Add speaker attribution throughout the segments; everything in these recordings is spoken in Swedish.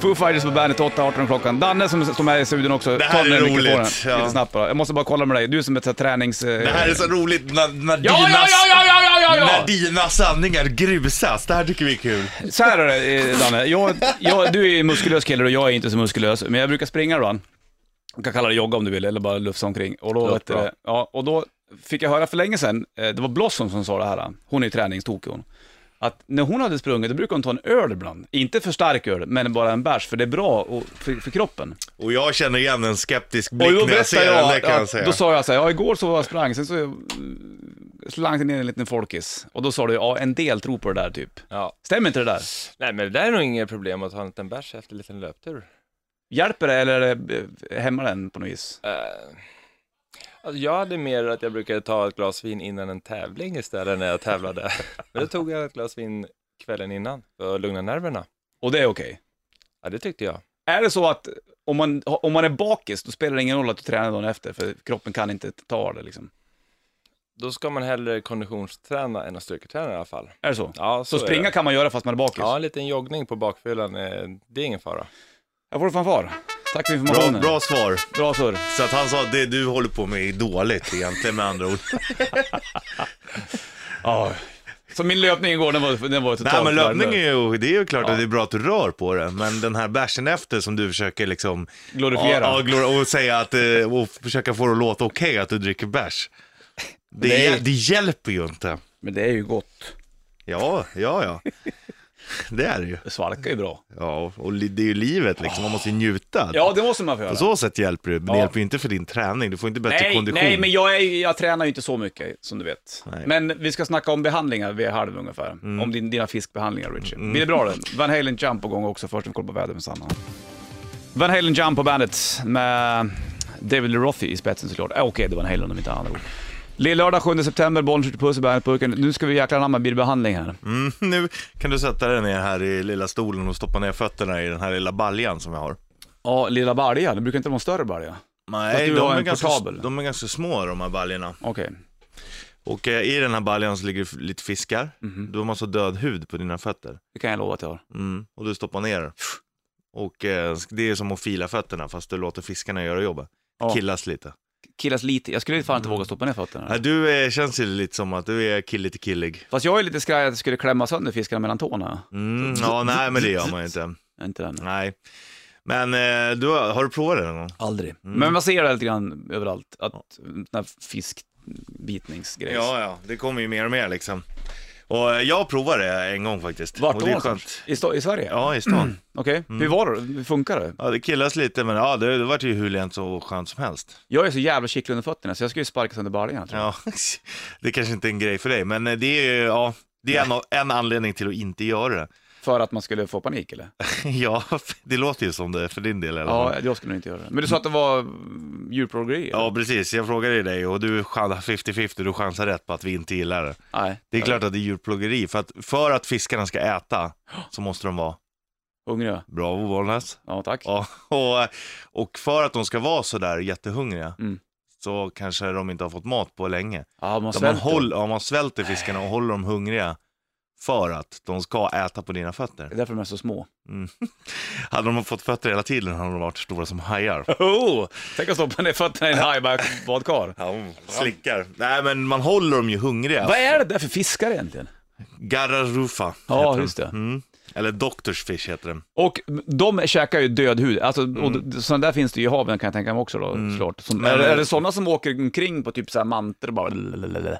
Speaker 1: Foo Fighters på bandet 8.18 klockan. Danne som står med i studion också.
Speaker 2: Det här
Speaker 1: Ta den
Speaker 2: är
Speaker 1: där mikrofonen
Speaker 2: roligt, ja.
Speaker 1: Lite snabbt bara. Jag måste bara kolla med dig. Du som är ett så här tränings... eh,
Speaker 2: Det här är så roligt när, när,
Speaker 1: Ja, ja,
Speaker 2: dinas,
Speaker 1: ja, ja, ja, ja, ja,
Speaker 2: när
Speaker 1: ja!
Speaker 2: dina sanningar grusas. Det här tycker vi är kul.
Speaker 1: Så här är det eh, Danne, jag, jag, du är ju muskulös kille och jag är inte så muskulös, men jag brukar springa ibland. Du kan kalla det jogga om du vill, eller bara lufsa omkring. Och då,
Speaker 3: Låter
Speaker 1: vet du,
Speaker 3: bra.
Speaker 1: ja, och då fick jag höra för länge sedan, eh, det var Blossom som sa det här, hon är ju träningstokig hon. Att när hon hade sprungit, då brukade hon ta en öl ibland. Inte för stark öl, men bara en bärs, för det är bra och för, för kroppen.
Speaker 2: Och jag känner igen en skeptisk
Speaker 1: Och
Speaker 2: blick
Speaker 1: då
Speaker 2: när jag ser
Speaker 1: berättade
Speaker 2: den, det
Speaker 1: jag,
Speaker 2: kan jag
Speaker 1: att,
Speaker 2: säga.
Speaker 1: då sa jag så här, ja igår så var jag sprang, sen så mm, slank det ner en liten folkis. Och då sa du, ja en del tror på det där typ.
Speaker 3: Ja.
Speaker 1: Stämmer inte det där?
Speaker 3: Nej, men det där är nog inget problem att ha en liten bärs efter en liten löptur.
Speaker 1: Hjälper det eller eh, hämmar den på något vis?
Speaker 3: Eh, alltså jag hade mer att jag brukade ta ett glas vin innan en tävling istället när jag tävlade. Men då tog jag ett glas vin kvällen innan för att lugna nerverna.
Speaker 1: Och det är okej.
Speaker 3: Ja, det tyckte jag.
Speaker 1: Är det så att om man, om man är bakis, då spelar det ingen roll att du tränar dagen efter, för kroppen kan inte ta det liksom.
Speaker 3: Då ska man hellre konditionsträna än att styrketräna i alla fall.
Speaker 1: Är det så?
Speaker 3: Ja,
Speaker 1: Så,
Speaker 3: är
Speaker 1: springa
Speaker 3: det.
Speaker 1: kan man göra fast man är bakis?
Speaker 3: Ja, en liten joggning på bakfyllan, eh, det är ingen fara.
Speaker 1: Jag får en fanfar. Tack för
Speaker 2: Bra,
Speaker 1: informationen.
Speaker 2: bra svar.
Speaker 1: bra surr.
Speaker 2: Så att han sa att det du håller på med är dåligt egentligen med andra ord.
Speaker 1: Ja. Så min löpning igår, den var, den var totalt
Speaker 2: Nej men löpning är
Speaker 1: värdelös.
Speaker 2: ju, det är ju klart att det är bra att du rör på det, men den här bärsen efter som du försöker liksom
Speaker 1: Glorifiera.
Speaker 2: Ja, ja, glor- och säga att, eh, och försöka få det att låta okej att du dricker bärs. Det,
Speaker 1: Nej.
Speaker 2: det hjälper ju inte.
Speaker 1: Men det är ju gott.
Speaker 2: Ja, ja, ja. Det är det ju.
Speaker 1: Det svalkar ju bra.
Speaker 2: Ja, och li- det är ju livet liksom, man måste ju njuta.
Speaker 1: Ja, det måste man få göra.
Speaker 2: På så sätt hjälper det, men det
Speaker 1: Ja.
Speaker 2: hjälper ju inte för din träning, du får inte bättre
Speaker 1: Nej,
Speaker 2: kondition.
Speaker 1: nej, men jag, är, ju- jag tränar ju inte så mycket som du vet.
Speaker 2: Nej. Mm.
Speaker 1: Men vi ska snacka om behandlingar vid halv ungefär. Om din, dina fiskbehandlingar Richie. Blir det bra den? Van Halen Jump på gång också, först vi kollar på vädret med Sanna. Van Halen Jump på bandet med David Lee Roth i spetsen såklart. Äh, Okej, det var Van Halen om inte andra ord. Lill-lördag 7 september, bollen skjuter puss i bandet Nu ska vi jäkla anamma bilbehandling här.
Speaker 2: Mm, nu kan du sätta dig ner här i lilla stolen och stoppa ner fötterna i den här lilla baljan som jag har.
Speaker 1: Ja, lilla balja, det brukar inte vara en större balja. Fast
Speaker 2: Nej,
Speaker 1: du har
Speaker 2: de är,
Speaker 1: en
Speaker 2: ganska,
Speaker 1: portabel.
Speaker 2: de är ganska små de här baljorna.
Speaker 1: Okej.
Speaker 2: Och eh, i den här baljan så ligger f- lite fiskar. Du har massa död hud på dina fötter.
Speaker 1: Det kan jag lova att jag har.
Speaker 2: Mm. Och du stoppar ner. Och eh, det är som att fila fötterna fast du låter fiskarna göra jobbet.
Speaker 1: Ja.
Speaker 2: Killas lite.
Speaker 1: Killas lite, jag skulle fan
Speaker 2: Mm.
Speaker 1: inte våga stoppa ner fötterna.
Speaker 2: Ja, du eh, känns ju lite som att du är killig till killig.
Speaker 1: Fast jag är lite skraj att jag skulle klämma sönder fiskarna mellan tårna.
Speaker 2: Mm, ja, nej men det gör man ju inte.
Speaker 1: Inte den.
Speaker 2: Nej. Men eh, du, har har du provat det någon gång?
Speaker 1: Aldrig.
Speaker 2: Mm.
Speaker 1: Men man ser det lite grann överallt, att den här fiskbitningsgrejs.
Speaker 2: Ja, ja, det kommer ju mer och mer liksom. Och eh, jag provade det en gång faktiskt.
Speaker 1: Vart
Speaker 2: och
Speaker 1: då
Speaker 2: det är
Speaker 1: någonstans?
Speaker 2: skönt.
Speaker 1: I, sta- I Sverige?
Speaker 2: Ja, Mm. i stan.
Speaker 1: Okej, hur var det? Hur funkar det?
Speaker 2: Ja, det killas lite men ja, det, det vart ju hur lent och skönt som helst.
Speaker 1: Jag är så jävla kittlig under fötterna så jag skulle ju sparka sönder baljan tror jag.
Speaker 2: Ja, det kanske inte är en grej för dig, men eh, det är ju, ja, det är en, av- en anledning till att inte göra det.
Speaker 1: För att man skulle få panik eller?
Speaker 2: Ja, det låter ju som det för din del eller?
Speaker 1: Ja, jag skulle nog inte göra det. Men du sa att det var mm, djurplågeri? eller?
Speaker 2: Ja, precis. Jag frågade ju dig och du chansar 50-50, du chansar rätt på att vi inte gillar det.
Speaker 1: Nej.
Speaker 2: Det är klart att det är djurplågeri, för att, för att fiskarna ska äta så måste de vara
Speaker 1: Hungriga?
Speaker 2: bravo Bollnäs.
Speaker 1: Ja, tack.
Speaker 2: Ja, och, och för att de ska vara så där jättehungriga
Speaker 1: Mm.
Speaker 2: så kanske de inte har fått mat på länge.
Speaker 1: Ja, man
Speaker 2: Om man,
Speaker 1: svälter.
Speaker 2: håll, ja, man svälter fiskarna och håller dem hungriga för att de ska äta på dina fötter.
Speaker 1: Det är därför de är så små.
Speaker 2: Hade de fått fötter hela tiden hade de varit stora som hajar.
Speaker 1: Oh, tänk att stoppa ner fötterna i en hajbadkar.
Speaker 2: Slickar. Nej men man håller dem ju hungriga.
Speaker 1: Vad är det där för fiskar egentligen?
Speaker 2: Gararufa
Speaker 1: Ja,
Speaker 2: heter den.
Speaker 1: just det.
Speaker 2: Mm. Eller Doctors Fish heter den.
Speaker 1: Och de käkar ju död hud, alltså, och sådana där finns det ju i haven kan jag tänka mig också då, såklart. Som,
Speaker 2: Mm. Men-
Speaker 1: är, är det sådana som åker omkring på typ såhär mantor och bara lalalala?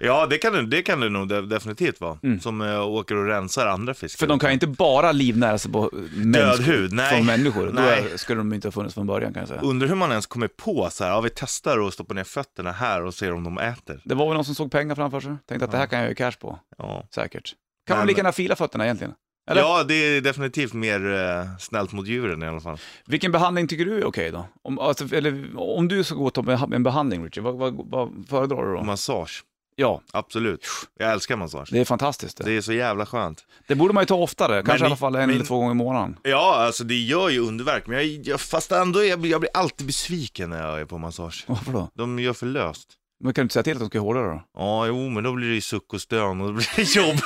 Speaker 2: Ja det kan det, det, kan det nog de- definitivt vara. Som eh, åker och rensar andra fiskar.
Speaker 1: Mm. För de kan ju inte bara livnära sig på
Speaker 2: Död
Speaker 1: människor,
Speaker 2: hud, nej.
Speaker 1: från människor.
Speaker 2: Nej.
Speaker 1: Då skulle de inte ha funnits från början kan jag säga.
Speaker 2: Undrar hur man ens kommer på så här, ja vi testar och stoppar ner fötterna här och ser om de äter.
Speaker 1: Det var väl någon som såg pengar framför sig, tänkte att det här kan jag ju cash på,
Speaker 2: Ja,
Speaker 1: säkert. Kan
Speaker 2: Nej,
Speaker 1: man lika
Speaker 2: men-
Speaker 1: gärna fila fötterna egentligen? Eller?
Speaker 2: ja det är definitivt mer eh, snällt mot djuren i alla fall.
Speaker 1: Vilken behandling tycker du är okej då? Om, alltså, eller, om du ska gå och ta en- en behandling Richard, vad, vad, vad föredrar du då?
Speaker 2: Mm. Massage,
Speaker 1: Ja,
Speaker 2: absolut. Jag älskar massage.
Speaker 1: det är fantastiskt det.
Speaker 2: Det är så jävla skönt.
Speaker 1: Det borde man ju ta oftare, kanske i
Speaker 2: ni-
Speaker 1: alla fall en
Speaker 2: men-
Speaker 1: eller två gånger i månaden.
Speaker 2: Ja, alltså det gör ju underverk, men jag, jag, fast ändå, är jag, jag blir alltid besviken när jag är på massage.
Speaker 1: Varför då?
Speaker 2: De gör för löst.
Speaker 1: Men kan du inte säga till att de ska göra hårdare då?
Speaker 2: Ja, jo, men då blir det ju suck och stön och då blir det jobb.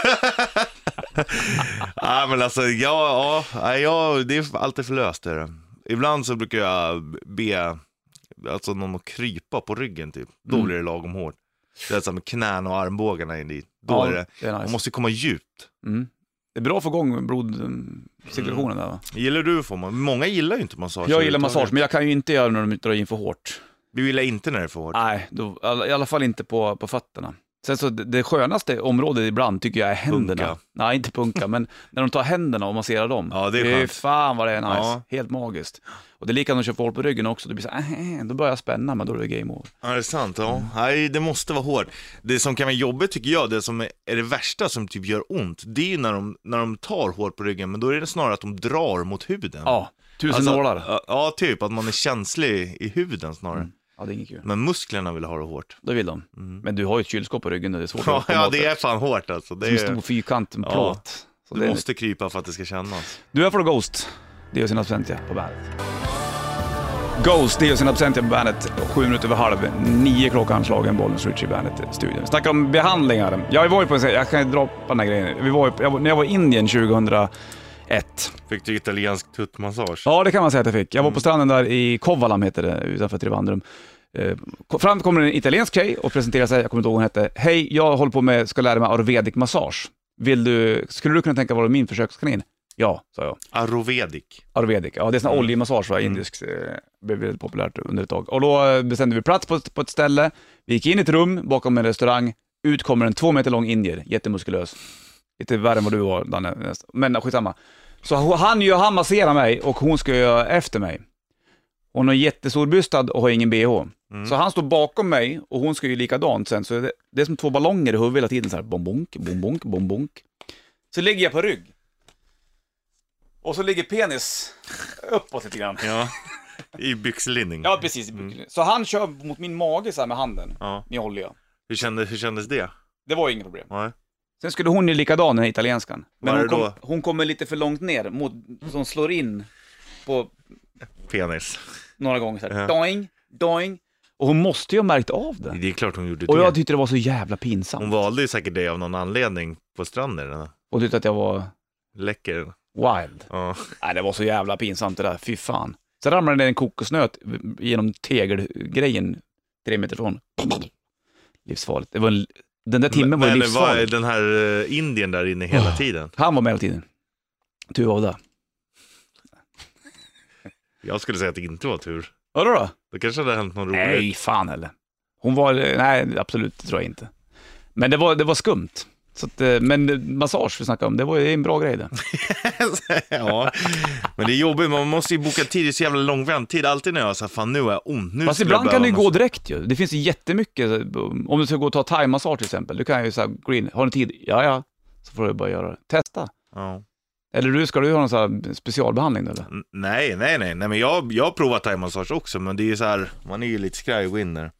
Speaker 2: Ja, men alltså, ja, ja, nej, ja, det är alltid för löst. Är det. Ibland så brukar jag be alltså, någon att krypa på ryggen, typ. Då
Speaker 1: Mm.
Speaker 2: blir det lagom hårt. Det är så här med knäna och armbågarna in dit. Då
Speaker 1: Ja,
Speaker 2: är det,
Speaker 1: det är
Speaker 2: man
Speaker 1: nice.
Speaker 2: måste komma djupt.
Speaker 1: Mm. Det är bra att få igång blodcirkulationen där va?
Speaker 2: Gillar du får man? Många gillar ju inte massage.
Speaker 1: Jag gillar
Speaker 2: överhuvudtaget.
Speaker 1: massage, men jag kan ju inte göra när de drar in för hårt.
Speaker 2: Du gillar inte när det är för hårt?
Speaker 1: Nej, då, all- i alla fall inte på, på fötterna. Sen så det, det skönaste området ibland tycker jag är händerna.
Speaker 2: Punka.
Speaker 1: Nej, inte punka, men när de tar händerna och masserar dem.
Speaker 2: Ja, det är
Speaker 1: det är
Speaker 2: skönt.
Speaker 1: fan vad det är nice.
Speaker 2: Ja.
Speaker 1: Helt magiskt. Och det är likadant när de kör för hårt på ryggen också. Det blir så här, äh, då börjar jag spänna, men då är det game over.
Speaker 2: Ja, det är sant. Ja.
Speaker 1: Mm.
Speaker 2: Nej, det måste vara hårt. Det som kan vara jobbigt tycker jag, det som är är det värsta som typ gör ont, det är ju när de, när de tar hårt på ryggen, men då är det snarare att de drar mot huden.
Speaker 1: Ja, tusen
Speaker 2: Alltså,
Speaker 1: nålar. Mm.
Speaker 2: ja, Ja, typ. Att man är känslig i huden snarare.
Speaker 1: Ja, det är inget kul.
Speaker 2: Men musklerna vill ha det hårt.
Speaker 1: Då vill de. Men du har ju ett kylskåp på ryggen och det är svårt
Speaker 2: Mm. Ja,
Speaker 1: att komma
Speaker 2: ja
Speaker 1: åt
Speaker 2: det är fan hårt alltså. Det
Speaker 1: Som en stor
Speaker 2: är,
Speaker 1: fyrkant, en
Speaker 2: Ja.
Speaker 1: plåt. Så det
Speaker 2: du
Speaker 1: är-
Speaker 2: måste krypa för att det ska kännas.
Speaker 1: Du är för Ghost, Dios in absentia på bandet. Ghost, Dios in absentia på bandet. Sju minuter över halv, nio klockan slagen, Bollnäs Ritchie Bandet-studion. Vi snackar om behandlingar. Jag var ju på en, jag kan ju dra på den här grejen. Vi var ju, jag, var- när jag var i Indien 2001.
Speaker 2: Fick du italiensk tuttmassage?
Speaker 1: Ja, det kan man säga att jag fick. Jag var på stranden där i Kovalam heter det, utanför Trivandrum. Eh, ko- Fram kommer en italiensk tjej och presenterar sig, jag kommer inte ihåg vad hon hette. Hej, jag håller på med, ska lära mig ayurvedic massage. Vill du, skulle du kunna tänka vara min försökskanin? Ja, sa jag.
Speaker 2: Arovedic.
Speaker 1: Ayurvedic, ja det är sån här oljemassage va, indisk, eh, blev väldigt populärt under ett tag. Och då eh, bestämde vi plats på ett, på ett ställe, vi gick in i ett rum bakom en restaurang, ut kommer en två meter lång indier, jättemuskulös. Lite värre än vad du var Danne, nästan. men eh, skitsamma. Så ho- han, ju- han masserar mig och hon ska göra efter mig. Hon är jättestorbystad och har ingen bh. Så han står bakom mig och hon ska ju likadant sen, så det, det är som två ballonger i huvudet hela tiden så här, bombonk, bombonk, bombonk. Så ligger jag på rygg. Och så ligger penis uppåt lite grann.
Speaker 2: Ja. I byxlinning.
Speaker 1: Ja, precis. Så han kör mot min mage så här med handen,
Speaker 2: Ja.
Speaker 1: med olja.
Speaker 2: Hur, kändes, hur kändes det?
Speaker 1: Det var ju inget problem.
Speaker 2: Nej.
Speaker 1: Sen skulle hon ju likadan, den här italienskan. Men
Speaker 2: Var
Speaker 1: hon,
Speaker 2: det
Speaker 1: kom,
Speaker 2: då?
Speaker 1: hon kommer lite för långt ner, mot, så hon slår in på
Speaker 2: Penis.
Speaker 1: några gånger så här.
Speaker 2: Ja.
Speaker 1: Doing, doing. Och hon måste ju ha märkt av det.
Speaker 2: Det är klart hon gjorde
Speaker 1: Och jag
Speaker 2: det.
Speaker 1: tyckte det var så jävla pinsamt.
Speaker 2: Hon valde ju säkert dig av någon anledning på stranden. den här.
Speaker 1: Och tyckte att jag var
Speaker 2: Läcker.
Speaker 1: wild.
Speaker 2: Ja.
Speaker 1: Nej, det var så jävla pinsamt det där. Fy fan. Sen ramlade det en kokosnöt genom tegelgrejen tre meter från. Livsfarligt. Det var en, den där timmen var ju
Speaker 2: Men
Speaker 1: livsfarlig.
Speaker 2: var den här uh, indien där inne hela tiden?
Speaker 1: Han var med hela tiden. Tur var det.
Speaker 2: Jag skulle säga att det inte var tur.
Speaker 1: Vadå då?
Speaker 2: Då kanske det hade hänt något roligt.
Speaker 1: Nej, fan heller. Hon var, nej absolut, det tror jag inte. Men det var, det var skumt. Så att, eh, men massage vi snackade om, det var ju en bra grej det.
Speaker 2: ja, men det är jobbigt. Man måste ju boka tid. Det är så jävla lång väntetid. Alltid när jag säger fan nu är jag ont. Nu
Speaker 1: Fast
Speaker 2: skulle jag
Speaker 1: ibland kan
Speaker 2: behöva
Speaker 1: det ju gå
Speaker 2: massage."
Speaker 1: direkt ju. Det finns ju jättemycket, eh, om du ska gå och ta thaimassage till exempel, du kan ju säga green, har du tid? Ja, ja. Så får du bara göra det. Testa.
Speaker 2: Ja.
Speaker 1: Eller du, ska du ha någon sån här specialbehandling då eller?
Speaker 2: N- Nej, nej, nej. nej men jag, jag har provat thaimassage också, men det är ju så här, man är ju lite skraj och gå in där.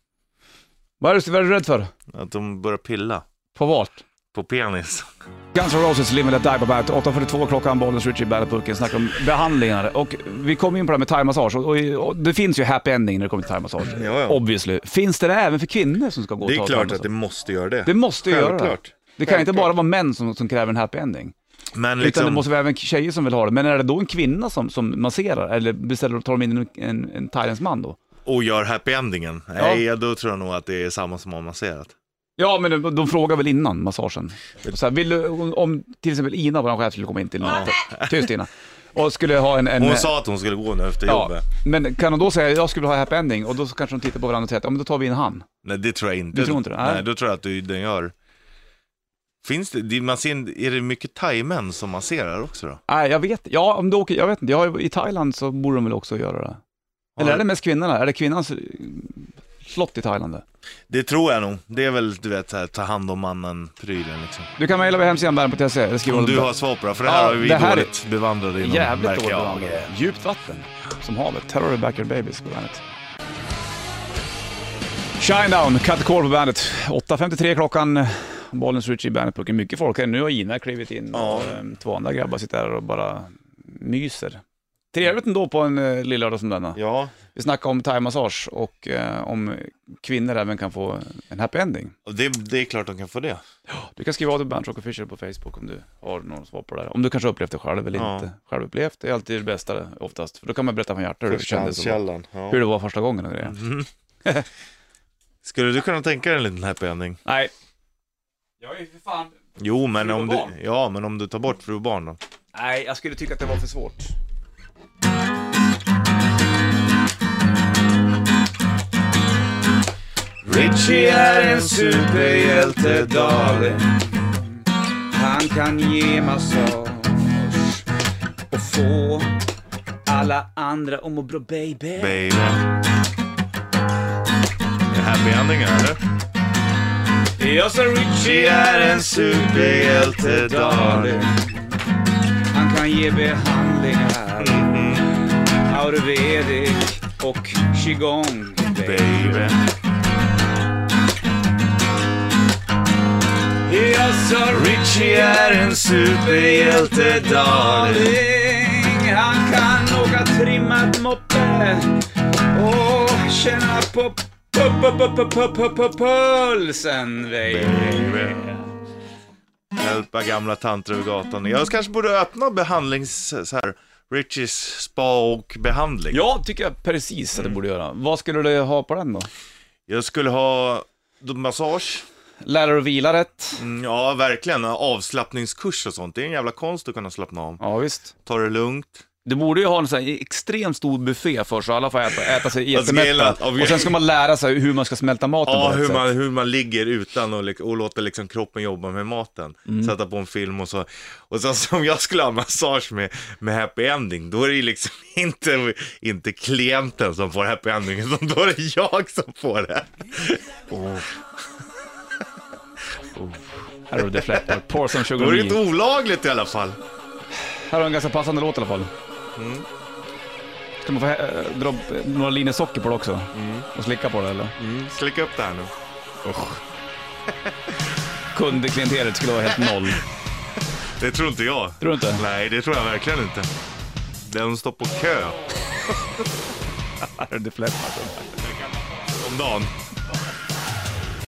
Speaker 1: Vad är du, vad är du rädd för?
Speaker 2: Att de börjar pilla
Speaker 1: På vart?
Speaker 2: på penis.
Speaker 1: Guns N' Roses Live and Let Die på bandet. 8.42 klockan, Bollnäs Richie Bandet-burken. Snackar om behandlingar. Och vi kom in på det här med thaimassage. Och, och, och det finns ju happy ending när det kommer till thaimassage.
Speaker 2: Ja, ja.
Speaker 1: Obviously. Finns det det även för kvinnor som ska gå och
Speaker 2: Det
Speaker 1: ta
Speaker 2: är klart
Speaker 1: thaimassage?
Speaker 2: att det måste göra det.
Speaker 1: Det måste ju göra det.
Speaker 2: Självklart.
Speaker 1: Det kan ju inte bara vara män som, som kräver en happy ending.
Speaker 2: Men
Speaker 1: Utan det
Speaker 2: liksom,
Speaker 1: måste vara även tjejer som vill ha det. Men är det då en kvinna som, som masserar? Eller beställer, tar de in en, en, en thailändsk man då?
Speaker 2: och gör happy-endingen. Nej, då tror jag nog att det är samma som har masserat.
Speaker 1: Ja, men de, de frågar väl innan massagen. Så här, vill du, om- om till exempel Ina, vår chef, skulle komma in till någon. Tyst Ina. Och skulle ha en... en
Speaker 2: Hon sa att hon skulle gå nu efter
Speaker 1: ja,
Speaker 2: jobbet.
Speaker 1: men kan de då säga jag skulle vilja ha happy ending och då så kanske de tittar på varandra och säger att ja, men då tar vi in han.
Speaker 2: Nej, det tror jag inte.
Speaker 1: Du tror inte det? Nej.
Speaker 2: Nej, då tror jag att du, den gör... Finns det, det- man ser, är det mycket thaimän som masserar också då?
Speaker 1: Nej, jag vet Ja, om du åker, jag vet inte. Jag, har ju- I Thailand så borde de väl också göra det. Eller är det mest kvinnorna? Är det kvinnans eh, slott i Thailand? det?
Speaker 2: Det tror jag nog. Det är väl, du vet, så här, ta hand om mannen-prylen liksom.
Speaker 1: Du kan mejla via hemsidan bären.se eller skriva...
Speaker 2: Om du har svar på det, för det här
Speaker 1: Ja,
Speaker 2: har vi
Speaker 1: det här är-
Speaker 2: dåligt bevandrade inom,
Speaker 1: Jävligt
Speaker 2: märker
Speaker 1: dåligt
Speaker 2: jag.
Speaker 1: behandling. eh, Djupt vatten, som havet. Terror Backyard Babies på bandet. Shinedown, Cut the Call på bandet. 8.53 klockan. Bollens Ritchie i bandet Mycket folk här. Nu har Ina klivit in
Speaker 2: Ja.
Speaker 1: och ehm, två andra grabbar sitter här och bara myser. Trevligt ändå på en eh, lill eh, lördag som denna.
Speaker 2: Ja,
Speaker 1: Vi snackade om thaimassage och eh, om kvinnor även kan få en happy ending.
Speaker 2: Och det, det är klart de kan få det.
Speaker 1: Du kan skriva av dig på Bandrock Official på Facebook om du har någon svar på det där. Om du kanske har upplevt det själv eller
Speaker 2: Ja.
Speaker 1: inte. Självupplevt det är alltid det bästa oftast, för då kan man berätta från hjärtat hur det kändes. och vad-
Speaker 2: Förstahandskällan. Ja.
Speaker 1: Hur det var första gången och grejer.
Speaker 2: Mhm. Skulle du kunna tänka dig en liten happy ending?
Speaker 1: Nej. Jag är för fan...
Speaker 2: Jo, men
Speaker 1: Fru och
Speaker 2: om du,
Speaker 1: barn.
Speaker 2: ja, men om du tar bort fru och barn då?
Speaker 1: Nej, jag skulle tycka att det var för svårt.
Speaker 2: Richie är en superhjälte, darling.
Speaker 1: Han kan ge massage och få alla andra att må bra baby.
Speaker 2: Baby. Är det happy ending eller?
Speaker 1: Jag sa Richie är en
Speaker 2: superhjälte,
Speaker 1: darling. Han kan ge behandlingar Mm-hmm. Ayurvedic och qigong baby.
Speaker 2: Baby.
Speaker 1: Jag sa
Speaker 2: Richie är en superhjälte, darling.
Speaker 1: darling Han kan åka trimmad moppe och känna på pu- pu- pu- pu- pu- pu- pu- pulsen baby.
Speaker 2: Baby. Hjälpa gamla tanter över gatan. Jag kanske borde öppna behandlings... Så här, Richies spa och behandling.
Speaker 1: Ja, tycker jag precis att det borde göra. Vad skulle du ha på den då?
Speaker 2: Jag skulle ha massage.
Speaker 1: Lära dig att vila rätt?
Speaker 2: Mm, Ja, verkligen. Avslappningskurs och sånt. Det är en jävla konst att kunna slappna av.
Speaker 1: Ja, visst.
Speaker 2: Ta det lugnt.
Speaker 1: Du borde ju ha en sån här extremt stor buffé först så alla får äta, äta sig
Speaker 2: Alltså, grejen är att-
Speaker 1: jättemätta. Och sen ska man lära sig hur man ska smälta maten
Speaker 2: Ja,
Speaker 1: på rätt
Speaker 2: hur
Speaker 1: sätt.
Speaker 2: man, hur man ligger utan och, lik- och låter liksom kroppen jobba med maten.
Speaker 1: Mm.
Speaker 2: Sätta på en film och så. Och sen som jag skulle ha massage med, med happy ending, då är det ju liksom inte, inte klienten som får happy ending, utan då är det jag som får det.
Speaker 1: Här har du deflektor. Pour some
Speaker 2: Då
Speaker 1: sugar
Speaker 2: är det
Speaker 1: me.
Speaker 2: inte olagligt i alla fall.
Speaker 1: Här har du en ganska passande låt i alla fall.
Speaker 2: Mm.
Speaker 1: Ska man få eh, dra upp eh, några linjer socker på det också?
Speaker 2: Mm.
Speaker 1: Och slicka på det eller?
Speaker 2: Slicka upp det här nu.
Speaker 1: Kundklientelet skulle vara helt noll.
Speaker 2: Det tror inte jag.
Speaker 1: Tror du inte?
Speaker 2: Nej, det tror jag verkligen inte. Den står på kö alltså.
Speaker 1: Här är deflektor.
Speaker 2: om dagen.